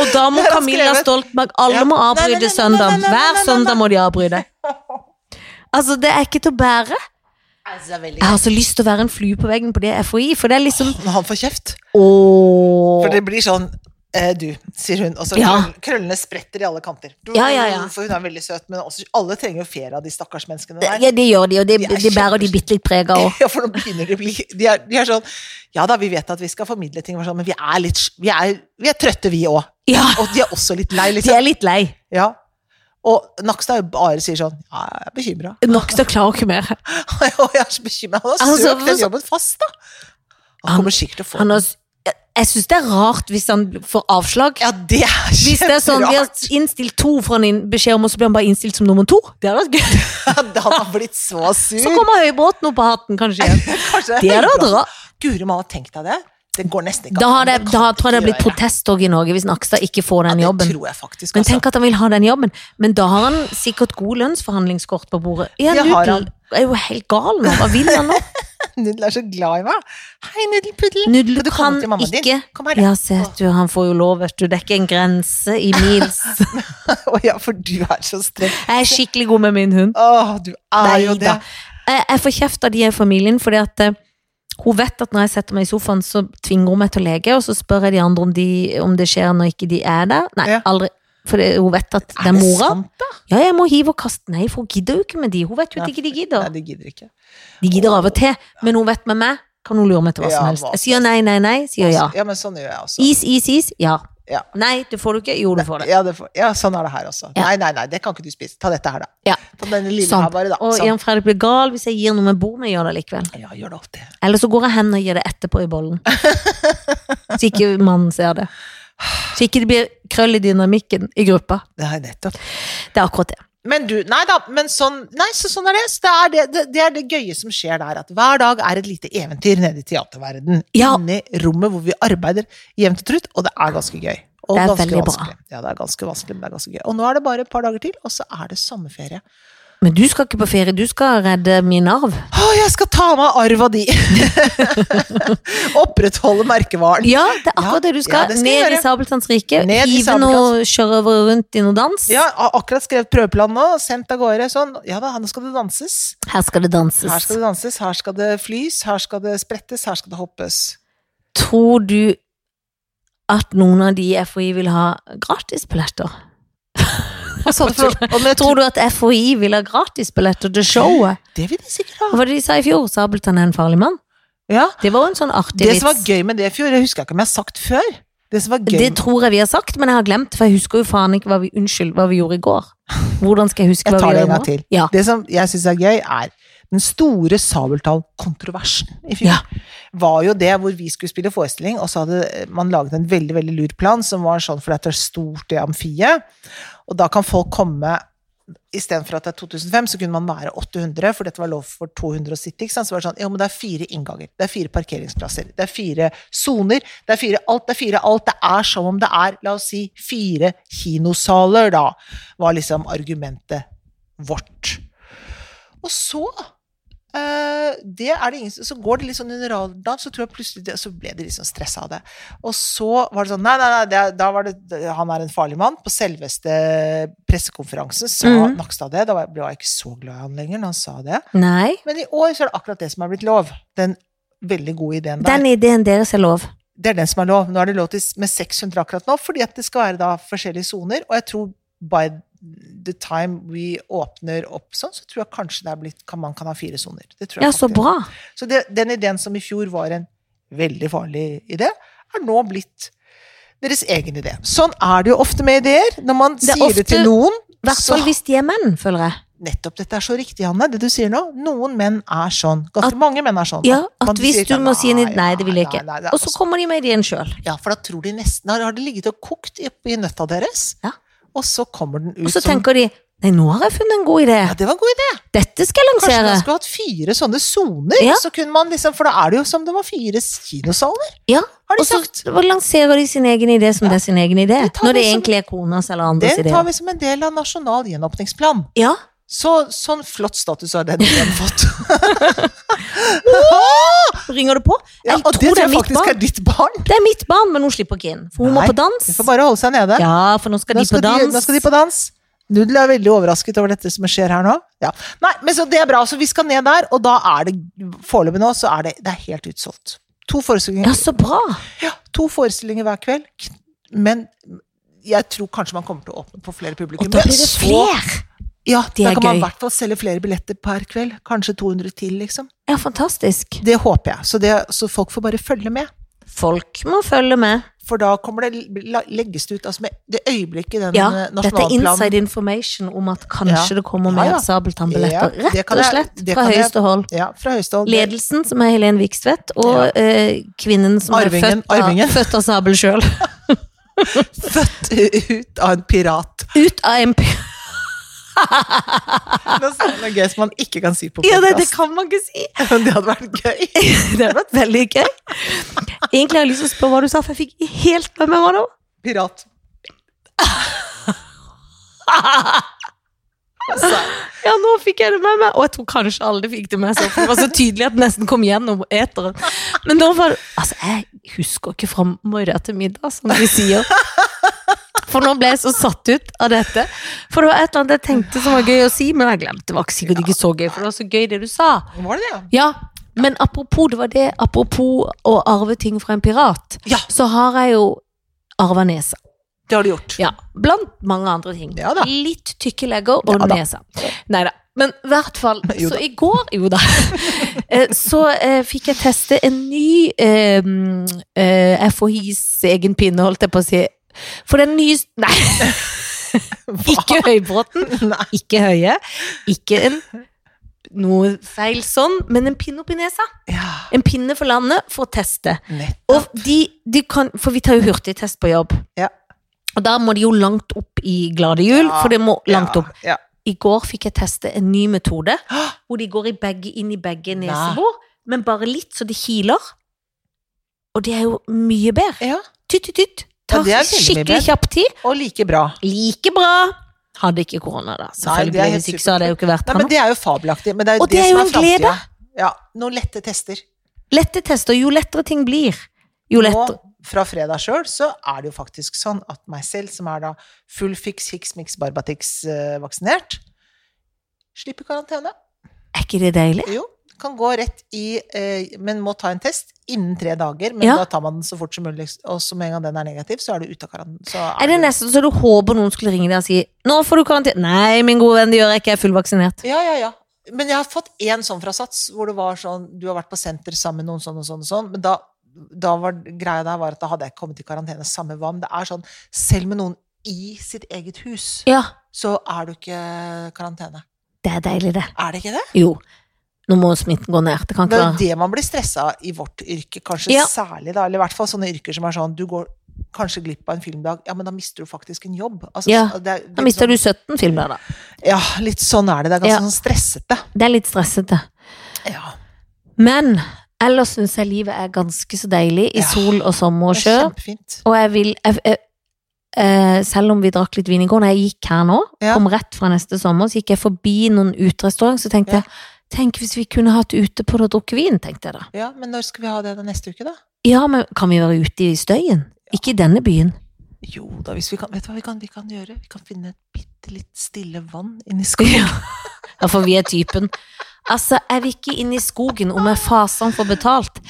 Speaker 2: Og da må
Speaker 1: Det er
Speaker 2: Camilla
Speaker 1: skrevet.
Speaker 2: Stoltenberg Alle
Speaker 1: Ja. Nei,
Speaker 2: må
Speaker 1: nei, nei,
Speaker 2: avbryte
Speaker 1: nei,
Speaker 2: søndag.
Speaker 1: nei, nei, nei, nei,
Speaker 2: Hver
Speaker 1: nei.
Speaker 2: søndag må de avbryte. Altså, det er ikke til å bære.
Speaker 1: Altså,
Speaker 2: Jeg har så lyst til å være en flue på veggen på det FHI, for det er liksom
Speaker 1: Når han får kjeft.
Speaker 2: Åh.
Speaker 1: For det blir sånn eh, Du, sier hun, og så
Speaker 2: Ja.
Speaker 1: krøll- krøllene spretter i alle kanter. Du,
Speaker 2: Ja, ja, ja.
Speaker 1: For hun er veldig søt, men også, alle trenger jo ferie av de stakkars menneskene der.
Speaker 2: Ja, det gjør de, og det,
Speaker 1: De er
Speaker 2: de bærer de bitte litt preg av òg.
Speaker 1: <laughs> Ja, for nå begynner de å bli de er, de er sånn Ja da, vi vet at vi skal formidle ting, men vi er litt Vi er, vi er trøtte, vi òg.
Speaker 2: Ja,
Speaker 1: Og de er også litt
Speaker 2: <laughs>
Speaker 1: lei.
Speaker 2: de
Speaker 1: Liksom.
Speaker 2: er litt lei.
Speaker 1: Ja. Og Nakstad jo bare sier sånn Ja, jeg er <laughs> bekymra.
Speaker 2: Nok til å klare ikke mer.
Speaker 1: Og jeg er så bekymra. Han har
Speaker 2: Altså,
Speaker 1: søkt den
Speaker 2: så-
Speaker 1: jobben fast, da. Han
Speaker 2: Han-
Speaker 1: kommer sikkert til å få
Speaker 2: Han
Speaker 1: den.
Speaker 2: har, jeg syns det er rart hvis han får avslag.
Speaker 1: Ja, det er
Speaker 2: Hvis det er sånn, Vi har
Speaker 1: kjemperart.
Speaker 2: innstilt to fra en beskjed om, og så blir han bare innstilt som nummer to. Det hadde vært gøy.
Speaker 1: <laughs> Han har blitt så sur.
Speaker 2: Så kommer Høybråten opp på hatten, kanskje.
Speaker 1: <laughs>
Speaker 2: igjen.
Speaker 1: Kanskje
Speaker 2: Det hadde vært
Speaker 1: høyblåst.
Speaker 2: rart.
Speaker 1: Guri malla, tenk deg det. Det går nesten ikke
Speaker 2: Da,
Speaker 1: an.
Speaker 2: har det,
Speaker 1: kan
Speaker 2: da
Speaker 1: du
Speaker 2: tror jeg det
Speaker 1: ikke
Speaker 2: har blitt
Speaker 1: gjøre.
Speaker 2: protesttog i Norge hvis Nakstad ikke får den
Speaker 1: Ja,
Speaker 2: jobben.
Speaker 1: Det tror jeg faktisk.
Speaker 2: Men
Speaker 1: altså. <laughs>
Speaker 2: tenk at han vil ha den jobben. Men da har han sikkert god lønnsforhandlingskort på bordet. Ja,
Speaker 1: Det har han.
Speaker 2: Nudel er jo helt gal nå. Hva vil
Speaker 1: <laughs>
Speaker 2: han nå?
Speaker 1: Nudel er så glad i meg. Hei, Nudelpuddel.
Speaker 2: Nudel
Speaker 1: Kan du komme
Speaker 2: kan
Speaker 1: til mammaen din?
Speaker 2: ikke
Speaker 1: Kom her, da.
Speaker 2: Ja, se, du, han får jo lov, vet du. Det er ikke en grense i
Speaker 1: <laughs>
Speaker 2: mils.
Speaker 1: <laughs> Å ja, for du er så streng.
Speaker 2: Jeg er skikkelig god med min hund.
Speaker 1: Å, du er jo
Speaker 2: Nei
Speaker 1: det.
Speaker 2: da. Jeg jeg får kjeft av de i familien, fordi at eh, hun vet at når jeg setter meg i sofaen, så tvinger hun meg til å leke, og så spør jeg de andre om, de, om det skjer når ikke de er der. Nei,
Speaker 1: Ja.
Speaker 2: aldri. For det- hun vet at det er mora. Ja, jeg må hive og kaste. Nei, for hun gidder jo ikke med de. Hun vet jo at
Speaker 1: Nei,
Speaker 2: ikke de
Speaker 1: Nei,
Speaker 2: gidder.
Speaker 1: de gidder ikke.
Speaker 2: De gidder av og til, men hun vet med meg, kan hun lure meg til hva
Speaker 1: Ja,
Speaker 2: som helst.
Speaker 1: hva
Speaker 2: Jeg sier nei, nei, nei, sier ja.
Speaker 1: ja, men sånn gjør jeg også.
Speaker 2: Is, is, is, ja.
Speaker 1: Ja.
Speaker 2: Nei, det får du ikke. Jo, du får det.
Speaker 1: Ja, det får, ja, sånn er det her også.
Speaker 2: Ja.
Speaker 1: Nei, nei, nei, det kan ikke du spise. Ta dette her, da.
Speaker 2: Ja.
Speaker 1: Ta denne lille
Speaker 2: Sant.
Speaker 1: her bare, da.
Speaker 2: Og
Speaker 1: Sånn.
Speaker 2: Jan Fredrik blir gal hvis jeg gir noe med bordet, men jeg gjør det likevel.
Speaker 1: Ja, gjør det alltid.
Speaker 2: Eller så går jeg hen og gir det etterpå i bollen. Så ikke mannen ser det. Så ikke det blir krøll i dynamikken i gruppa.
Speaker 1: Nei, nettopp.
Speaker 2: Det er akkurat det.
Speaker 1: Men du, nei da, men sånn, nei, så sånn er det. Så det, er det, det. Det er det gøye som skjer der, at hver dag er et lite eventyr nede i teaterverden.
Speaker 2: Ja.
Speaker 1: Inne i rommet hvor vi arbeider jevnt og trutt, og det er ganske gøy. Og
Speaker 2: Det er
Speaker 1: ganske
Speaker 2: veldig bra.
Speaker 1: vanskelig. Ja, det er ganske vanskelig, men det er ganske gøy. Og nå er det bare et par dager til, og så er det sommerferie.
Speaker 2: Men du skal ikke på ferie, du skal redde min arv.
Speaker 1: Å, jeg skal ta meg av arva di! <laughs> Opprettholde merkevaren.
Speaker 2: Ja, det er akkurat
Speaker 1: Ja,
Speaker 2: det du skal.
Speaker 1: ja, det skal jeg
Speaker 2: Ned i
Speaker 1: gjøre.
Speaker 2: Sabeltanns rike,
Speaker 1: Ned i
Speaker 2: hive noe, kjøre over rundt i noe dans.
Speaker 1: Ja, jeg har akkurat skrevet prøveplan nå, sendt av gårde. Sånn, ja da, nå skal det danses.
Speaker 2: Her skal det danses.
Speaker 1: Her skal det danses, her skal det flys, her skal det sprettes, her skal det hoppes.
Speaker 2: Tror du at noen av de i FHI vil ha gratisbilletter?
Speaker 1: Og så- og men jeg
Speaker 2: <laughs> Tror du at FHI vil ha gratisbilletter til showet?
Speaker 1: Det vil de sikkert ha.
Speaker 2: Hva var det de sa i fjor? Sabeltann er en farlig mann.
Speaker 1: Ja.
Speaker 2: Det var jo en sånn artig
Speaker 1: Det som var
Speaker 2: vits.
Speaker 1: gøy med det i fjor, det husker jeg ikke om jeg har sagt før. Det som var gøy
Speaker 2: Det tror jeg vi har sagt, men jeg har glemt, for jeg husker jo faen ikke hva vi, unnskyld, hva vi gjorde i går. Hvordan skal jeg huske
Speaker 1: Jeg
Speaker 2: hva
Speaker 1: tar
Speaker 2: vi
Speaker 1: det en
Speaker 2: gjorde
Speaker 1: gang til.
Speaker 2: Ja.
Speaker 1: Det som jeg syns er gøy, er den store Sabeltann-kontroversen i fjor.
Speaker 2: Ja.
Speaker 1: Var jo det hvor vi skulle spille forestilling, og så hadde man laget en veldig veldig lur plan som var sånn fordi at det er stort, det amfiet. Og da kan folk komme Istedenfor at det er 2005, så kunne man være 800, for dette var lov for 200 å sitte. ikke sant? Så var det sånn, jo, men det er fire innganger, det er fire parkeringsplasser, det er fire soner, det er fire alt, det er fire alt. Det er som om det er, la oss si, fire kinosaler, da, var liksom argumentet vårt. Og så eh, det er det ingen, som- så går det litt sånn under radaren, så tror jeg plutselig det, så ble de litt sånn stressa av det. Og så var det sånn Nei, nei, nei, det, er- da var det Han er en farlig mann. På selveste pressekonferansen sa
Speaker 2: Mhm.
Speaker 1: Nakstad det. Da var- ble jeg ikke så glad i han lenger når han sa det.
Speaker 2: Nei.
Speaker 1: Men i år så er det akkurat det som er blitt lov. Den veldig gode ideen der.
Speaker 2: Den ideen deres er lov.
Speaker 1: Det er den som er lov. Nå er det lov til med 600 akkurat nå, fordi at det skal være da forskjellige soner. Og jeg tror by the time we åpner opp sånn, så tror jeg kanskje det er blitt, kan, man kan ha fire soner. Det tror jeg
Speaker 2: Ja, så
Speaker 1: faktisk.
Speaker 2: bra.
Speaker 1: Så det, den ideen som i fjor var en veldig farlig idé, er nå blitt deres egen idé. Sånn er det jo ofte med ideer. Når man
Speaker 2: Det er
Speaker 1: sier det til
Speaker 2: ofte-
Speaker 1: noen,
Speaker 2: I hvert
Speaker 1: så
Speaker 2: fall hvis de er menn, føler jeg.
Speaker 1: Nettopp dette er så riktig, Hanne, det du sier nå. Noen menn er sånn. Ganske
Speaker 2: At-
Speaker 1: mange menn er sånn.
Speaker 2: Ja,
Speaker 1: man
Speaker 2: at hvis
Speaker 1: sier
Speaker 2: du
Speaker 1: ikke,
Speaker 2: må si en
Speaker 1: «Nei,
Speaker 2: nei, det vil jeg
Speaker 1: nei,
Speaker 2: ikke.
Speaker 1: nei, nei,
Speaker 2: Og så kommer de med ideen sjøl.
Speaker 1: Ja, for da tror de nesten Har har det ligget og kokt i- oppi nøtta deres?
Speaker 2: Ja.
Speaker 1: Og så kommer den ut
Speaker 2: Og så tenker de nei, nå har jeg funnet en god idé.
Speaker 1: Ja, det var en god idé!
Speaker 2: Dette skal jeg
Speaker 1: Kanskje man
Speaker 2: lansere.
Speaker 1: skulle hatt fire sånne soner?
Speaker 2: Ja.
Speaker 1: Så kunne man liksom, for da er det jo som det var fire kinosaler,
Speaker 2: Ja,
Speaker 1: har de
Speaker 2: Og så
Speaker 1: sagt.
Speaker 2: lanserer de sin egen idé som
Speaker 1: Ja.
Speaker 2: det er sin egen idé.
Speaker 1: Det tar
Speaker 2: Når det
Speaker 1: vi som-
Speaker 2: egentlig er konas eller andres
Speaker 1: Den tar
Speaker 2: idé.
Speaker 1: vi som en del av nasjonal gjenåpningsplan.
Speaker 2: Ja,
Speaker 1: Så, sånn flott status
Speaker 2: <laughs>
Speaker 1: har den ideen fått.
Speaker 2: ringer det på?
Speaker 1: Ja,
Speaker 2: Jeg
Speaker 1: og det
Speaker 2: tror
Speaker 1: tror
Speaker 2: det er
Speaker 1: jeg
Speaker 2: mitt
Speaker 1: faktisk er
Speaker 2: barn.
Speaker 1: ditt barn.
Speaker 2: Det er mitt barn, men hun slipper ikke inn. For hun
Speaker 1: Nei,
Speaker 2: må på dans.
Speaker 1: Du får bare holde seg nede.
Speaker 2: Ja, for nå skal
Speaker 1: Nå
Speaker 2: de på
Speaker 1: skal de-
Speaker 2: dans.
Speaker 1: Nå skal de på dans. Nudel er veldig overrasket over dette som skjer her nå. Ja. Nei, men så Det er bra. Så vi skal ned der, og da er det foreløpig nå så er det, det er helt utsolgt. To forestillinger,
Speaker 2: Ja, så bra.
Speaker 1: ja, to forestillinger hver kveld. K- Men jeg tror kanskje man kommer til å åpne på flere publikum.
Speaker 2: Og da
Speaker 1: Men
Speaker 2: blir det
Speaker 1: så-
Speaker 2: flere.
Speaker 1: Ja,
Speaker 2: Det
Speaker 1: da
Speaker 2: er
Speaker 1: kan man i
Speaker 2: gøy.
Speaker 1: hvert fall selge flere billetter per kveld. Kanskje 200 til, liksom.
Speaker 2: Ja, fantastisk.
Speaker 1: Det håper jeg. Så, det, så folk får bare følge med.
Speaker 2: Folk må følge med.
Speaker 1: For da kommer det, la- legges det ut altså med det øyeblikket den
Speaker 2: Ja,
Speaker 1: eh,
Speaker 2: dette er
Speaker 1: nasjonalplanen
Speaker 2: inside information om at kanskje det kommer
Speaker 1: Ja,
Speaker 2: mer
Speaker 1: ja.
Speaker 2: sabeltannbilletter.
Speaker 1: Ja, det
Speaker 2: Rett
Speaker 1: kan
Speaker 2: og
Speaker 1: jeg-
Speaker 2: slett
Speaker 1: det
Speaker 2: fra
Speaker 1: kan jeg-
Speaker 2: høyeste hold.
Speaker 1: Ja, fra Høyestad.
Speaker 2: Ledelsen, som er Helen Vikstvedt, og
Speaker 1: Ja.
Speaker 2: eh, kvinnen som
Speaker 1: Arvingen,
Speaker 2: er født
Speaker 1: arvingen.
Speaker 2: av, født av
Speaker 1: <laughs>
Speaker 2: sabel sjøl.
Speaker 1: Født ut av en pirat.
Speaker 2: Ut av en p-
Speaker 1: Det er sånn noe gøy som man ikke kan si på
Speaker 2: Ja, det, det
Speaker 1: podcast.
Speaker 2: kan man ikke
Speaker 1: <laughs>
Speaker 2: si!
Speaker 1: Men det hadde vært gøy.
Speaker 2: Det hadde vært veldig gøy. Egentlig har jeg lyst til å spørre hva du sa, for jeg fikk helt med meg hva det var.
Speaker 1: Pirat. Så,
Speaker 2: Ja, nå fikk jeg det med meg. Og jeg tror kanskje alle fikk det med seg, for det var så tydelig at det nesten kom gjennom eteren. Men da var det Altså, jeg husker ikke fra morgen til middag, som de sier. For nå ble jeg så satt ut av dette. For det var et eller annet jeg tenkte som var gøy å si, men jeg glemte. Det var ikke sikkert ikke så gøy, for det var så gøy det du sa.
Speaker 1: var det det?
Speaker 2: Ja, men apropos det var det, apropos å arve ting fra en pirat,
Speaker 1: Ja.
Speaker 2: så har jeg jo arva nesa.
Speaker 1: Det har du gjort.
Speaker 2: Ja, blant mange andre ting.
Speaker 1: Ja da.
Speaker 2: Litt tykke legger og
Speaker 1: Ja da.
Speaker 2: nesa. Nei da. Men i hvert fall,
Speaker 1: <laughs> Jo da.
Speaker 2: så i går Jo da. <laughs> Eh, så eh, fikk jeg teste en ny eh, mm, eh, FHIs egen pinne, holdt jeg på å si. For den nye s- Nei, <laughs> ikke Høybråten.
Speaker 1: <laughs> Nei.
Speaker 2: Ikke Høie. Ikke en noe feil sånn, men en pinne opp i nesa.
Speaker 1: Ja,
Speaker 2: En pinne for landet for å teste.
Speaker 1: nett.
Speaker 2: Og de, de kan, for vi tar jo hurtigtest på jobb.
Speaker 1: Ja.
Speaker 2: Og da må de jo langt opp i glade jul,
Speaker 1: Ja,
Speaker 2: for det må langt opp.
Speaker 1: Ja.
Speaker 2: I går fikk jeg teste en ny metode, hvor de går i begge, inn i begge
Speaker 1: Nei.
Speaker 2: nesebor, men bare litt, så det kiler. Og det er jo mye bedre.
Speaker 1: ja.
Speaker 2: Tytt, tytt, tytt. Tar
Speaker 1: det er veldig mye
Speaker 2: skikkelig
Speaker 1: bedre.
Speaker 2: kjapp tid.
Speaker 1: Og like bra.
Speaker 2: Like bra. Hadde ikke korona, da.
Speaker 1: det er
Speaker 2: Selvfølgelig.
Speaker 1: helt
Speaker 2: Hvis ikke så hadde jeg jo ikke vært
Speaker 1: Nei,
Speaker 2: her
Speaker 1: men
Speaker 2: nå.
Speaker 1: det er jo fabelaktig. Men det er jo
Speaker 2: Og det er
Speaker 1: som
Speaker 2: jo
Speaker 1: er
Speaker 2: en glede.
Speaker 1: framtida. Ja, noen lette tester.
Speaker 2: Lette tester. Jo lettere ting blir, jo lettere.
Speaker 1: Nå, fra fredag sjøl, så er det jo faktisk sånn at meg selv, som er da full fix, hix, mix, barbatix eh, vaksinert, slipper karantene.
Speaker 2: Er ikke det deilig?
Speaker 1: Jo, kan gå rett i eh, Men må ta en test innen tre dager. Men
Speaker 2: Ja.
Speaker 1: da tar man den så fort som mulig, og så med en gang den er negativ, så er du ute av karantene. Så
Speaker 2: Er det nesten så du håper noen skulle ringe deg og si Nå får du karantene Nei, min gode venn, det gjør jeg ikke, jeg er fullvaksinert.
Speaker 1: Ja, ja, ja. Men jeg har fått én sånn fra Sats, hvor det var sånn Du har vært på senter sammen med noen sånn og sånn og sånn, men da, da var greia der var at da hadde jeg ikke kommet i karantene samme hva. Men det er sånn, selv med noen i sitt eget hus,
Speaker 2: Ja,
Speaker 1: så er du ikke karantene.
Speaker 2: det er deilig, det.
Speaker 1: Er det ikke det?
Speaker 2: Jo. Nå må smitten gå ned. Det kan
Speaker 1: Det
Speaker 2: ikke
Speaker 1: er jo
Speaker 2: være
Speaker 1: det man blir stressa av i vårt yrke, kanskje
Speaker 2: Ja.
Speaker 1: særlig, da. Eller i hvert fall sånne yrker som er sånn Du går kanskje glipp av en filmdag, ja, men da mister du faktisk en jobb. Altså,
Speaker 2: Ja.
Speaker 1: det er litt
Speaker 2: Da mister
Speaker 1: sånn,
Speaker 2: du 17 filmer, da.
Speaker 1: Ja, litt sånn er det. Det er ganske
Speaker 2: Ja.
Speaker 1: sånn stressete.
Speaker 2: Det er litt stressete.
Speaker 1: Ja.
Speaker 2: Men ellers syns jeg livet er ganske så deilig i
Speaker 1: Ja.
Speaker 2: sol og sommer og
Speaker 1: Det
Speaker 2: sjø.
Speaker 1: er kjempefint.
Speaker 2: Og jeg vil jeg, jeg, eh, Selv om vi drakk litt vin i går, når jeg gikk her nå,
Speaker 1: Ja.
Speaker 2: kom rett fra neste sommer, så gikk jeg forbi noen uterestaurant, så tenkte
Speaker 1: Ja.
Speaker 2: jeg Tenk hvis vi kunne hatt ute på det og drukket vin, tenkte jeg da.
Speaker 1: Ja, men når skal vi ha det da neste uke, da?
Speaker 2: Ja, men kan vi være ute i støyen? Ikke i denne byen.
Speaker 1: Jo da, hvis vi kan Vet du hva vi kan, vi kan
Speaker 2: <laughs>
Speaker 1: gjøre? Vi kan finne et bitte litt stille vann inni skogen.
Speaker 2: Ja, for vi er typen. Altså, jeg vil ikke inn i skogen om jeg fasen får betalt.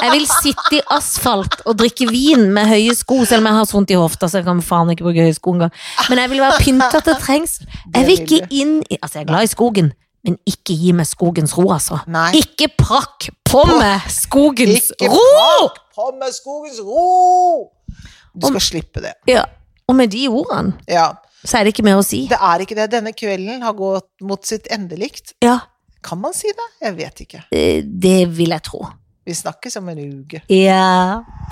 Speaker 2: Jeg vil sitte i asfalt og drikke vin med høye sko, selv om jeg har så vondt i hofta, så jeg kan faen ikke bruke høye sko engang. Men jeg vil være pynta til trengsel. Jeg vil ikke inn i Altså, jeg er glad i skogen, men ikke gi meg skogens ro, altså.
Speaker 1: Nei.
Speaker 2: Ikke prakk på meg skogens
Speaker 1: Ikke
Speaker 2: ro!
Speaker 1: prat! På med skogens ro! Du skal slippe det.
Speaker 2: Ja. Og med de ordene,
Speaker 1: Ja.
Speaker 2: så er det ikke mer å si.
Speaker 1: Det er ikke det. Denne kvelden har gått mot sitt endelikt.
Speaker 2: Ja,
Speaker 1: Kan man si det? Jeg vet ikke.
Speaker 2: eh, det vil jeg tro.
Speaker 1: Vi snakkes om en uke.
Speaker 2: Ja.